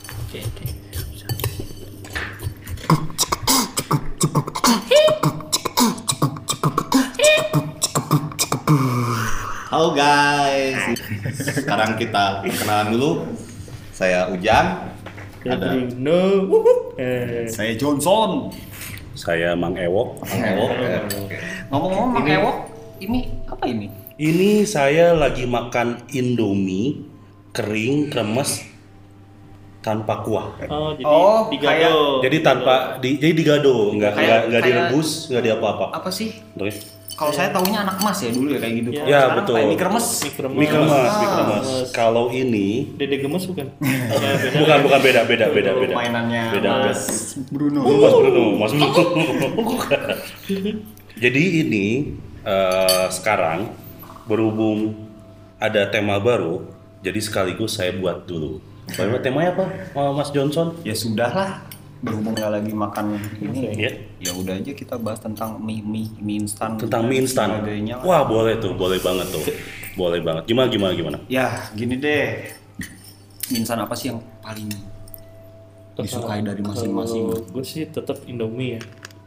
Oke, oke. Siap, siap. Halo guys. Sekarang kita kenalan dulu. Saya Ujang. Ada Bruno. Eh, Saya Johnson. Saya Mang Ewok. Mang Ewok. ya. Ngomong-ngomong Mang Ewok, ini apa ini? Ini saya lagi makan Indomie kering kremes tanpa kuah. oh, jadi Oh, digado. Jadi tanpa di, jadi digado, nggak Kayak- nggak nggak kayak- direbus, nggak diapa-apa. Apa sih? Terus Kalau saya taunya anak emas ya dulu ya kayak gitu. Ya, Kalau sekarang betul. apa ini kremes. mie kremes. mie kremes, mie Ah. kremes. Kalau ini Dede gemes bukan? ya, beda. bukan bukan beda beda beda beda. Mainannya Beda, beda. Mas Bruno. Mas Bruno, Mas Bruno. Bukan. Jadi ini eh, sekarang berhubung ada tema baru, jadi sekaligus saya buat dulu. Bagaimana temanya apa, eh, Mas Johnson? Ya sudah lah. Berhubung nggak lagi makan ini, Ya. ya udah aja kita bahas tentang mie mie, mie instan. tentang dan mie instan. sebagainya lah. Wah boleh tuh, boleh banget tuh, boleh banget. Gimana gimana gimana? Ya gini deh. Mie instan apa sih yang paling disukai dari masing-masing? Gue sih tetap Indomie ya.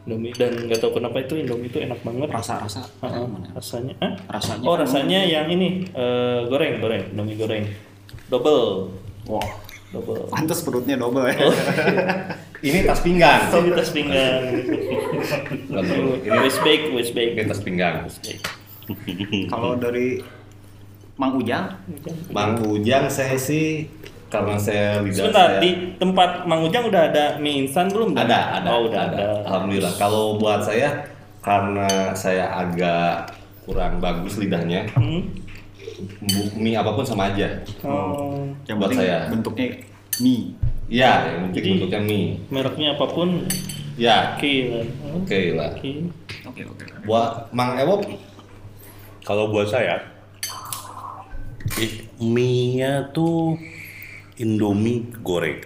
Indomie dan nggak tahu kenapa itu Indomie itu enak banget. Rasa-rasa Heeh, yang mana? rasanya. Hah? Rasanya. Oh, rasanya yang ini eh, goreng, goreng, Indomie goreng. Double, Wah, double. pantas perutnya double ya. Oh. Ini tas pinggang. Ini tas pinggang. Nggak tahu. Ini West bake, west ini bake. tas pinggang. West bake. Kalau dari Mang Ujang, Bang Ujang saya sih karena saya lidah Sebentar, saya di tempat Mang Ujang udah ada mie instan belum? ada ada Oh, udah ada. ada. Alhamdulillah. Kalau buat saya karena saya agak kurang bagus lidahnya, Hmm? bu- mie apapun sama aja. Hmm. Oh, yang Buat penting saya. bentuknya mie. Iya, yang penting Jadi- bentuknya mie. mereknya apapun, Oh, Ya, oke lah. oke lah. Oke. Oke oke. Buat Mang Ewok, Kalau buat saya, i- mie-nya tuh Indomie goreng.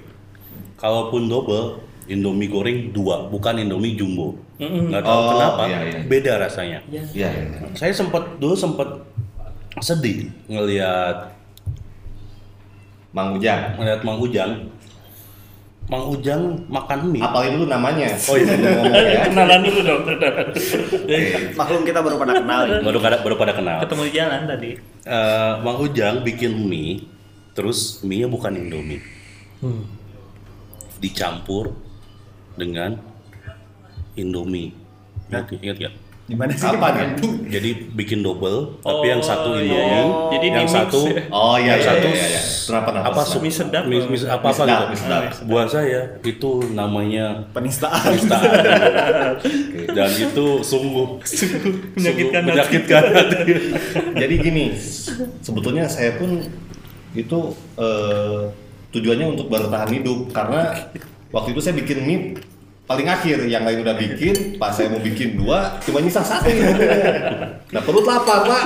Kalaupun double, Indomie goreng dua, bukan Indomie jumbo. Mm-mm. Nggak tahu Oh, kenapa, iya, iya. beda rasanya. Ya. ya, ya. Saya sempat dulu sempat sedih ngelihat Mang Ujang. ngelihat Mang Ujang. Mang Ujang makan mie. Apalin dulu namanya. Oh, iya. Sebelum ngomong ya. Kenalan dulu dong, kenalan. Maklum kita baru pada kenal. ya. ini. Baru pada baru pada kenal. Ketemu di jalan tadi. Eh, Mang Ujang bikin mie, terus mie-nya bukan Indomie. Hmm. Dicampur dengan Indomie. Ingat, ingat nggak? Gimana sih? Apa kan? nih? Jadi bikin double, tapi yang satu iya. Indomie, Jadi yang di-mix satu ya. Oh iya, Yang iya, satu iya, iya, iya. Kenapa, kenapa, apa kenapa? sup Mie sedap. mie- mie- apa apa Sedap, gitu. mie sedap. Buat saya itu namanya Penistaan. penistaan. Dan itu sungguh Menyakitkan sungguh hati. menyakitkan hati. Jadi gini, sebetulnya saya pun itu eh, tujuannya untuk bertahan hidup karena waktu itu saya bikin mie paling akhir yang lain udah bikin, pas saya mau bikin dua, cuma nyisa satu. nah perut lapar pak.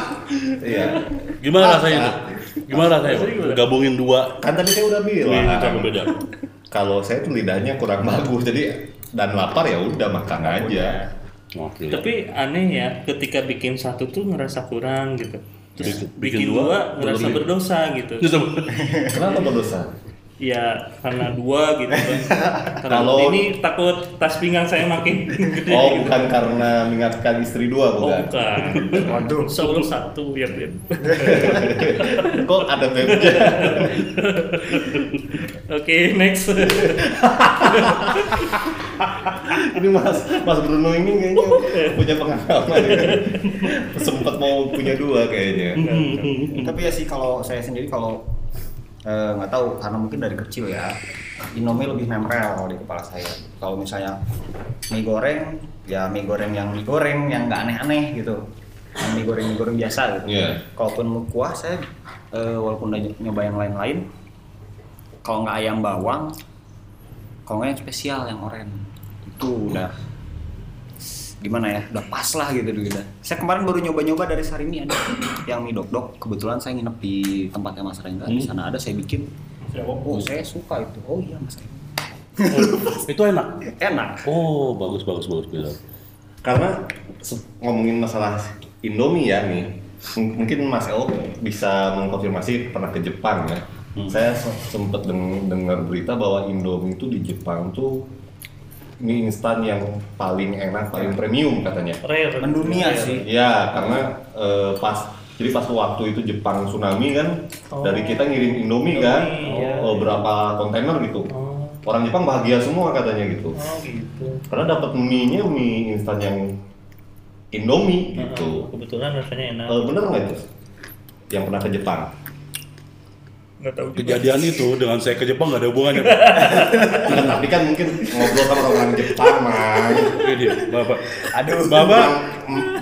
Iya. Gimana Ah, rasanya ah. tuh? Gimana rasanya? Bang? Gabungin dua Kan tadi saya udah mie Iya, itu bilang. beda. Kalau saya tuh lidahnya kurang bagus, jadi dan lapar ya udah makan Oh, iya. aja. Oke. Tapi aneh ya, ketika bikin satu tuh ngerasa kurang gitu. Terus Bikin- bikin bikin, dua, dua, ngerasa belum. berdosa gitu. Terus apa? Kenapa berdosa? Ya karena dua gitu kan. Karena Kalau- ini takut tas pinggang saya makin gede. Oh gitu. bukan karena mengingatkan istri dua Oh bukan? bukan. Waduh. Sebelum satu ya Beb. Kok ada bebnya? Oke next. ini mas mas Bruno ini kayaknya Oh, iya. punya pengalaman ya. sempet mau punya dua Hmm. kayaknya Tapi ya sih kalau saya sendiri kalau eh, nggak tahu karena mungkin dari kecil ya Indomie lebih nempel kalau di kepala saya. Kalau misalnya mie goreng, ya mie goreng yang mie goreng yang nggak aneh-aneh gitu. Yang mie goreng mie goreng biasa gitu. Iya. Kalaupun mau kuah saya eh, walaupun udah nyoba yang lain-lain, kalau nggak ayam bawang, kalau nggak yang spesial yang oren itu udah gimana ya udah pas lah gitu dulu dah. Saya kemarin baru nyoba-nyoba dari Sarimi ada yang mie dok-dok. Kebetulan saya nginep di tempatnya Mas Rendra di Hmm. sana ada saya bikin. Oh saya suka itu. Oh iya Mas Rendra. itu enak. Enak. Oh, bagus bagus bagus gitu. karena se- ngomongin masalah Indomie ya nih m- mungkin Mas El bisa mengkonfirmasi pernah ke Jepang ya Hmm. Saya sempat dengar berita bahwa Indomie itu di Jepang tuh mie instan yang paling enak, paling premium katanya. Rare. Mendunia Rare. sih. Iya, karena eh, pas jadi pas waktu itu Jepang tsunami kan, Oh. dari kita ngirim Indomie kan, Indomie, iya. oh, berapa kontainer gitu. Oh, Orang Jepang bahagia semua katanya gitu. oh gitu. Karena dapat mie-nya mie instan yang Indomie Nah, gitu. kebetulan rasanya enak. Eh, bener nggak itu? Yang pernah ke Jepang? Nggak tahu juga. Kejadian itu dengan saya ke Jepang nggak ada hubungannya. Pak. Bukan, tapi kan mungkin ngobrol sama orang Jepang, Mang. Ini dia, Bapak. Aduh. Bapak,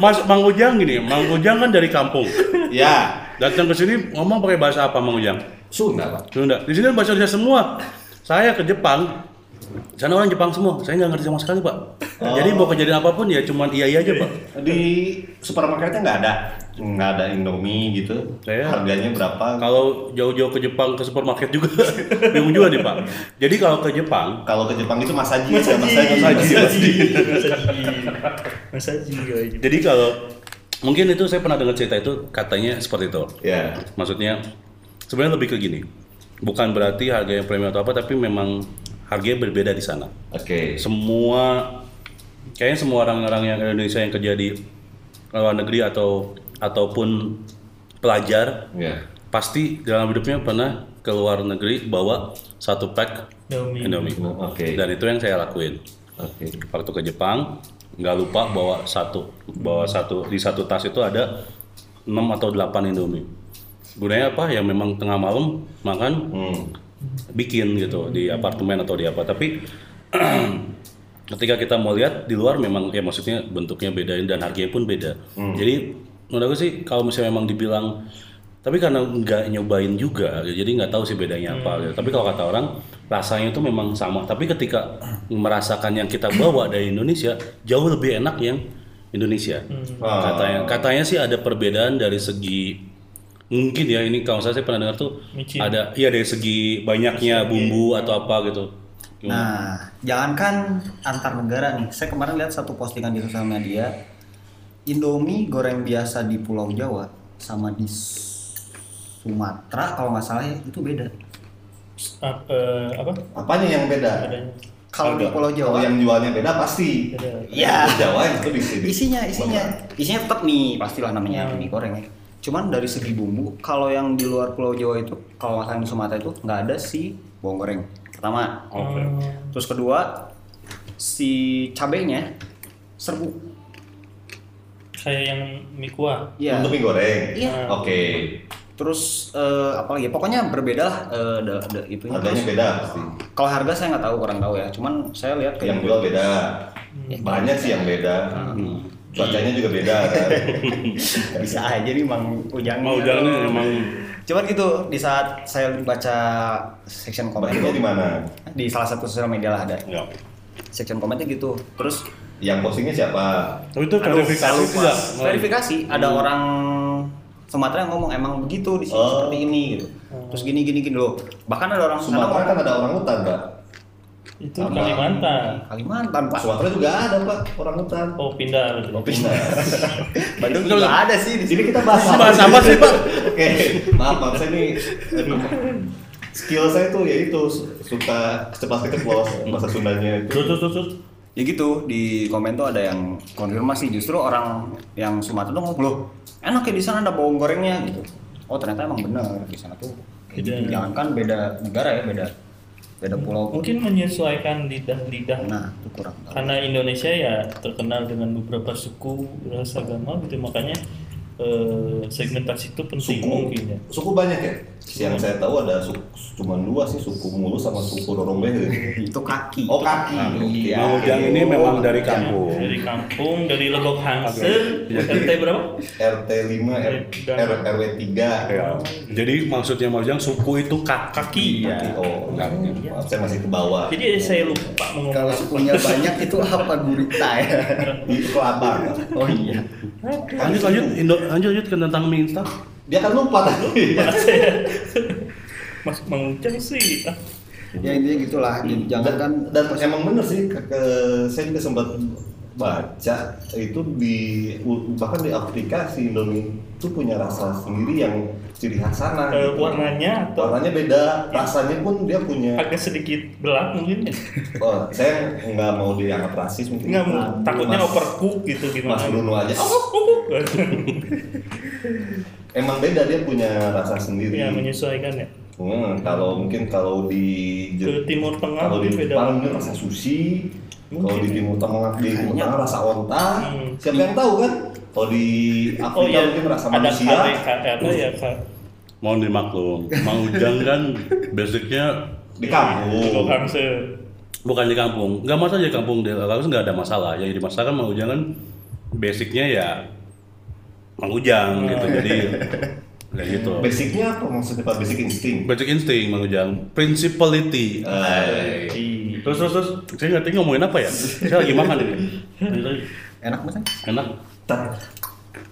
Mas Mang Ujang gini, Mang Ujang kan dari kampung. Ya, Datang ke sini ngomong pakai bahasa apa Mang Ujang? Sunda, Pak. Sunda. Di sini bahasa Indonesia semua. Saya ke Jepang, di sana orang Jepang semua. Saya nggak ngerti sama sekali, Pak. Jadi mau kejadian apapun ya cuman iya iya aja, Pak. Di supermarketnya nggak ada nggak ada Indomie gitu. Saya- Harganya berapa? Kalau jauh-jauh ke Jepang ke supermarket juga bingung juga nih, Pak. Jadi kalau ke Jepang, Kalau ke Jepang itu masaji, Mas ya, Haji, Mas Haji. Mas Haji, Mas Haji, Mas Haji, gila ini. jadi kalau mungkin itu saya pernah dengar cerita itu katanya seperti itu. Ya. Maksudnya sebenarnya lebih ke gini. Bukan berarti harga yang premium atau apa, tapi memang harganya berbeda di sana. Oke. Semua kayaknya semua orang-orang yang Indonesia yang kerja di luar negeri atau ataupun pelajar Ya. pasti dalam hidupnya pernah ke luar negeri bawa satu pack Indomie. Indomie. Oke. Dan itu yang saya lakuin. Oke. Waktu ke Jepang nggak lupa bawa satu bawa satu di satu tas itu ada 6 atau 8 Indomie. Gunanya apa? Ya memang tengah malam makan Hmm. bikin gitu di apartemen atau di apa tapi ketika kita mau lihat di luar memang ya maksudnya bentuknya beda dan harganya pun beda jadi menurut aku sih kalau misalnya memang dibilang tapi karena nggak nyobain juga jadi nggak tahu sih bedanya apa gitu. tapi kalau kata orang rasanya itu memang sama tapi ketika merasakan yang kita bawa dari Indonesia jauh lebih enak yang Indonesia Ah. katanya Nah, katanya sih ada perbedaan dari segi mungkin ya ini kalau saya, saya pernah dengar tuh Micin. ada iya dari segi banyaknya bumbu atau apa gitu Gimana? Nah, jangankan antar negara nih. Saya kemarin lihat satu postingan di sosial media. Indomie goreng biasa di Pulau Jawa sama di S- Sumatera kalau nggak salah ya, itu beda. Ap- eh, apa? Ah, Apanya yang beda? Adanya. Kalau di Harga. Pulau Kalau Jawa yang jualnya beda pasti. Beda. Iya. Yang Jawa itu di sini. isinya isinya isinya tetap mie pastilah namanya Hmm. mie goreng ya. Cuman dari segi bumbu kalau yang di luar Pulau Jawa itu kalau nggak salah di Sumatera itu nggak ada si bawang goreng pertama. Oh, Oke. Terus kedua si cabenya serbuk. Kayak yang mie kuah. Iya. Untuk mie goreng. Iya. Oke. Terus eh, apa lagi? Pokoknya berbeda lah eh, da- da- itunya. Harganya beda pasti. Kalau harga saya nggak tahu, kurang tahu ya. Cuman saya lihat Yang kayak jual beda. Banyak sih yang beda. Cuacanya juga beda kan. bisa aja nih Mang Ujang. mau jalannya emang Cuman gitu di saat saya baca section comment Bacanya di mana? di salah satu sosial media lah ada ya. section commentnya gitu. Terus Yang postingnya siapa? tapi itu aduh, saya klarifikasi lupa. tidak Verifikasi ada orang Sumatera yang ngomong emang begitu di sini Oh. seperti ini gitu. Terus gini gini gini loh. Bahkan ada orang sana Sumatera kan ada orang hutan, Pak. Itu Sama. Kalimantan. ngomong, Kalimantan Pak. Sumatera juga ada, Pak, orang hutan. Oh pindah. Kopi. Nah. Bandung juga ada sih di Ini sini. kita bahas Ini bahas apa sih, Pak? Oke, maaf, maaf saya nih aduh. skill saya tuh ya itu suka cepat keceplos bahasa Sundanya itu. Terus terus terus, terus. Ya gitu, di komen tuh ada yang konfirmasi justru orang yang Sumatera tuh ngomong, "Loh, enak ya di sana ada bawang gorengnya." gitu. Oh, ternyata emang bener di sana tuh. kayak Beda. gitu. Jangankan beda negara ya, beda beda pulau. pun. Mungkin Kan. menyesuaikan lidah-lidah. Nah, itu kurang tahu. Karena Indonesia ya terkenal dengan beberapa suku, ras, agama gitu makanya eh, segmentasi itu penting mungkin ya. suku banyak ya? Yang saya tahu ada suku, cuma dua sih, suku Mulus sama suku Rorombehe. Itu kaki. Oh kaki. Oke. Mang Ujang ini memang dari kampung Dari kampung, dari Legok Hangsen, RT berapa? RT 5, R, R, RW 3. ya. jadi maksudnya Mang Ujang suku itu kakak Kaki. Oh, enggak. Iya. Maaf, saya masih ke bawah. Jadi eh, saya lupa Kalau mengomong. sukunya banyak itu apa gurita ya? Iya. Itu kelapa. Oh iya. lanjut lanjut Indo- lanjut lanjut ke tentang mie instan Dia kan lupa tadi. Iya, Mas mengucap sih. Ah, Ya intinya gitulah. Jangan kan dan, dan emang bener sih ke, ke- saya juga sempat baca itu di bahkan di aplikasi Indomie itu punya rasa sendiri yang ciri khas sana. Eh, gitu. warnanya atau warnanya beda, rasanya pun dia punya. agak sedikit gelap mungkin ya. Oh, saya nggak mau dianggap rasis mungkin. nggak mau Nah, takutnya Mas- overcook gitu gimana Mas Bruno aja. Oh, Emang beda dia punya rasa sendiri. ya menyesuaikan ya Hmm, kalau mungkin kalau di ke timur tengah kalau di mungkin beda Jepang ini rasa sushi, kalau di Mungkin. Timur Tengah di Timur Kayaknya. Tengah rasa onta, Hmm. siapa yang tahu kan? Kalau di Afrika oh ya mungkin rasa ada manusia, kare kare apa ya kare Mohon dimaklum, Mang Ujang kan basicnya di kampung. Joko Kamse bukan di kampung, nggak masalah di kampung, di Laos nggak ada masalah. Yang jadi masalah kan Mang Ujang kan basicnya ya Mang Ujang gitu, jadi kayak gitu. Basicnya apa maksudnya Pak? Basic insting. Basic instinct Mang Ujang, principality. Eh, Terus terus terus, saya nggak tahu ngomongin apa ya. Saya lagi makan ini. Lanjut lagi. Enak banget. kan? Enak. Ta-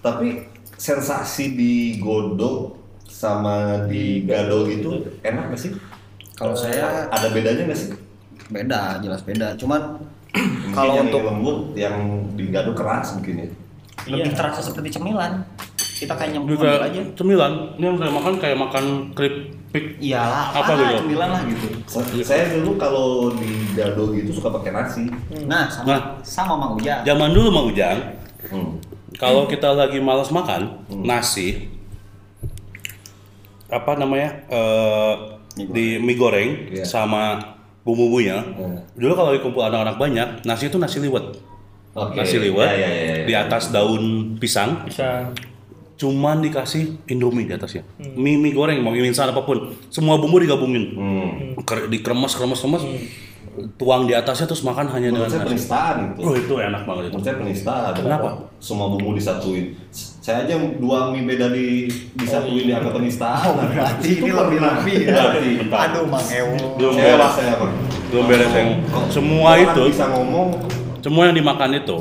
tapi sensasi di godok sama di gado itu enak gak sih? Kalau Eh, saya- ada bedanya gak sih? Beda, jelas beda. Cuman Mungkin ya, kalau yang untuk lembut, yang di gado keras mungkin ya. lebih Iya. terasa seperti cemilan, kita kayak Ini nyemplung kayak aja. cemilan. Ini yang saya makan kayak makan keripik. Iyalah, Apa ah, gitu? Cemilan lah gitu. Sa- Iya. Saya dulu kalau di gado gitu suka pakai nasi. Nah, sama Nah. sama Mang Uja. Zaman dulu Mang Ujang, Hmm. kalau kita lagi malas makan nasi apa namanya eh, di mie goreng Iya. sama bumbu-bumbunya Hmm. dulu kalau dikumpul anak-anak banyak nasi itu nasi liwet Oke. nasi liwet Ya, ya, ya, ya. di atas daun pisang bisa cuman dikasih indomie di atasnya mie mie goreng mau mie instan apapun semua bumbu digabungin Hmm. Ker- dikremes kremes kremes tuang di atasnya terus makan hanya Menurut dengan saya nasi penistaan itu. oh itu enak banget itu Menurut saya penistaan. Kenapa? Semua bumbu disatuin. S- Saya aja dua mie beda di Oh, disatuin iya. dianggap penistaan. Iya, berarti ini lebih-lebih ya. Berarti. Aduh, Mang Ewo. belum Saya beres rasa apa? belum beres yang Kok semua orang itu bisa ngomong. Semua yang dimakan itu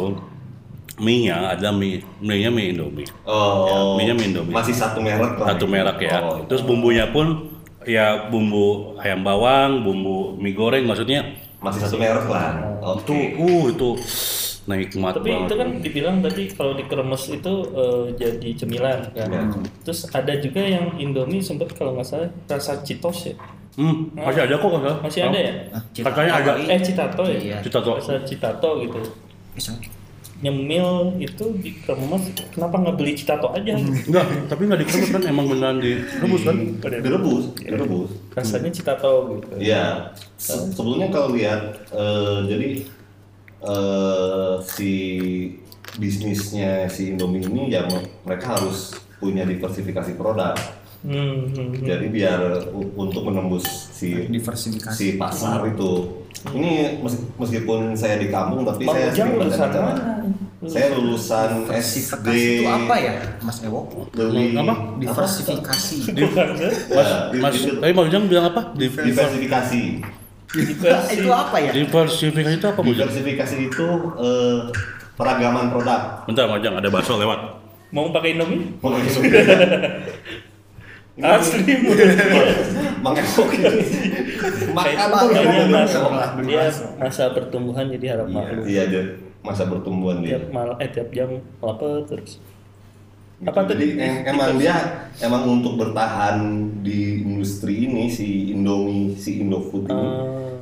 mie-nya ada mie, mie-nya mie Indomie. Oh, mie-nya mie Indomie. masih satu merek lah. Satu merek ya. Oh. Terus bumbunya pun ya bumbu ayam bawang, bumbu mie goreng maksudnya. masih satu merek lah. Oh, Itu uh itu nikmat tapi banget. itu kan dibilang tadi kalau dikremes itu eh, jadi cemilan kan Ya. terus ada juga yang Indomie sempat kalau nggak salah rasa citos ya Hmm, masih ada kok kalau masih ada ya Nah, Katanya ada Oh. eh citato ya Iya. Citato. rasa citato gitu nyemil itu dikremes kenapa nggak beli citato aja Hmm. Enggak, tapi enggak direbus kan emang beneran direbus kan? Direbus, direbus. rasanya citato gitu Iya. Se- Sebelumnya kalau lihat eh, jadi eh, si bisnisnya si Indomie ini ya me- mereka harus punya diversifikasi produk. hmm, hmm, hmm. Jadi biar u- untuk menembus Iya. si Diversifikasi. si pasar itu. Ini mes- meskipun saya di kampung tapi Bang saya Ujang sering lulusan baca-baca. mana? Saya lulusan SD. Diversifikasi itu apa ya, Mas Ewo? Dari Apa? Diversifikasi. Mas, Ya, di- mas, di- tapi Mas Ujang bilang apa? Di- diversifikasi. Diversi- itu apa ya? Diversifikasi itu apa, Mas Ujang? Diversifikasi itu eh, peragaman produk. Bentar, Mas Ujang, ada bakso lewat. mau pakai Indomie Mau langsung ke- asli Iya. mengesok makan Kayak- tuh Iya, ngomong Mas. sama orang. dia masa pertumbuhan jadi harap maklum iya aja masa pertumbuhan dia tiap mal eh tiap jam lapar terus Gitu. Apa tuh? jadi em- emang dia emang untuk bertahan di industri ini si Indomie si Indofood ini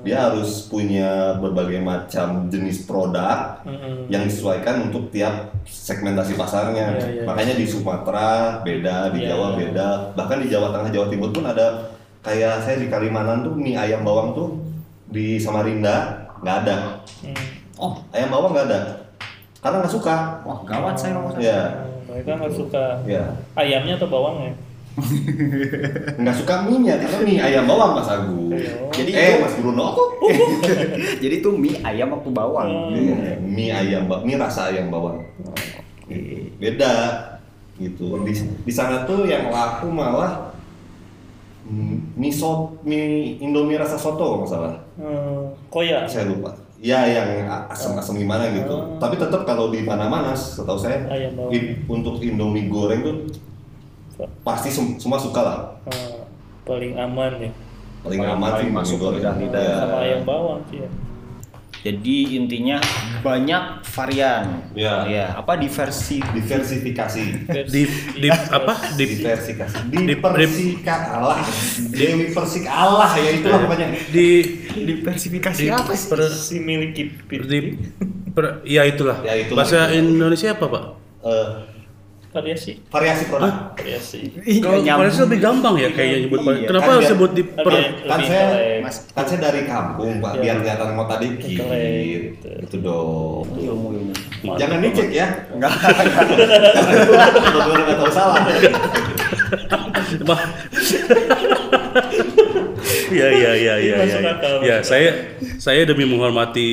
dia harus punya berbagai macam jenis produk Mm-mm. yang disesuaikan untuk tiap segmentasi pasarnya Iya, iya. makanya di Sumatera beda di Iya. Jawa beda bahkan di Jawa Tengah Jawa Timur pun ada kayak saya di Kalimantan tuh mie ayam bawang tuh di Samarinda nggak ada Hmm. Oh, ayam bawang nggak ada karena nggak suka wah gawat saya kalau ya Oh, mereka nggak suka ya ayamnya atau bawangnya nggak suka mie nya karena mie ayam bawang mas Agung jadi Iya. Jadi eh itu- mas Bruno Jadi itu mie ayam waktu bawang. Hmm. Iya, mie ayam ba- mie rasa ayam bawang Oh. Iya, beda gitu di, di sana tuh yang laku malah mm, mie sop mie indomie rasa soto kalau nggak salah Hmm, koya saya lupa ya yang a- asam-asam gimana Oh. gitu tapi tetap kalau di mana-mana setahu saya Ayam bawang. in- untuk indomie goreng tuh pasti sem- semua suka lah Hmm, paling aman ya paling Paling- aman sih paling indomie masuk goreng lidah-lidah. Ya. sama ayam bawang sih ya. Jadi intinya banyak varian. Iya. Iya, apa diversi diversifikasi Di, di Iya. apa? Di, diversifikasi Di- diversikan Allah Dewi Persik Allah ya itulah pokoknya di, diversifikasi di apa sih? per- si miliki di per- ya itulah. Ya, itulah. Bahasa Indonesia apa, Pak? Eh, variasi variasi produk variasi Kalau Malaysia lebih gampang ya kayaknya nyebut. Iya. Kenapa Kan harus biar- sebut di per Oke. kan Lebih saya keren. mas kan saya dari kampung pak Iya. biar kelihatan kota dikit Keren. itu dong ilmu ilmu. jangan dicek ya Enggak. kalau nggak tahu salah Bah. ya ya ya ya ya. Masuk akal. Ya, saya saya demi menghormati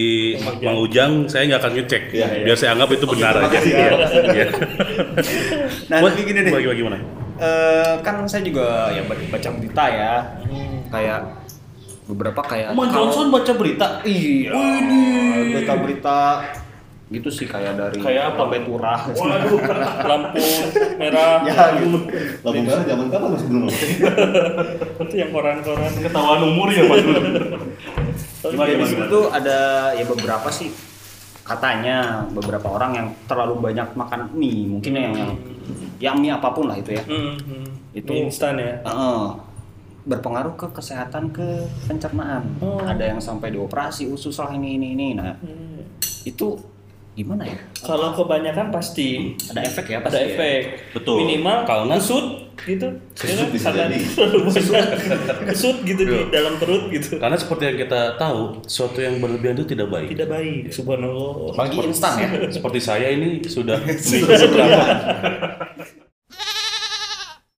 Mang Ujang, saya nggak akan ngecek. Iya, iya. Biar saya anggap itu benar terima aja. kasih ya. Iya. Iya. Nah, Buat- tapi gini deh. Bagaimana gimana? Eh, kan saya juga ya ba- baca berita ya. Kayak beberapa kayak Mang kalau- Hmm. Johnson baca berita. Iya. Berita-berita gitu sih kayak dari Kayak apa? Lambe Turah. waduh lampu merah ya gitu. lalu merah zaman kapan mas belum itu yang koran-koran Ketahuan umur ya Mas. Jadi di situ ada ya beberapa sih katanya beberapa orang yang terlalu banyak makan mie mungkin yang yang, yang mie apapun lah itu ya Hmm, hmm. Itu- Mie instan ya Heeh. berpengaruh ke kesehatan ke pencernaan Oh. ada yang sampai dioperasi usus lah ini ini ini nah Hmm. itu gimana ya kalau kebanyakan pasti ada efek ya ada pasti ya? efek Betul. minimal Kalau nggak- kusut gitu ya Kusut kan? bisa Karena jadi. terlalu banyak kusut gitu di Iya. dalam perut gitu Karena seperti yang kita tahu, sesuatu yang berlebihan itu tidak baik. tidak baik subhanallah apalagi instan ya Seperti saya ini sudah mie seberapa?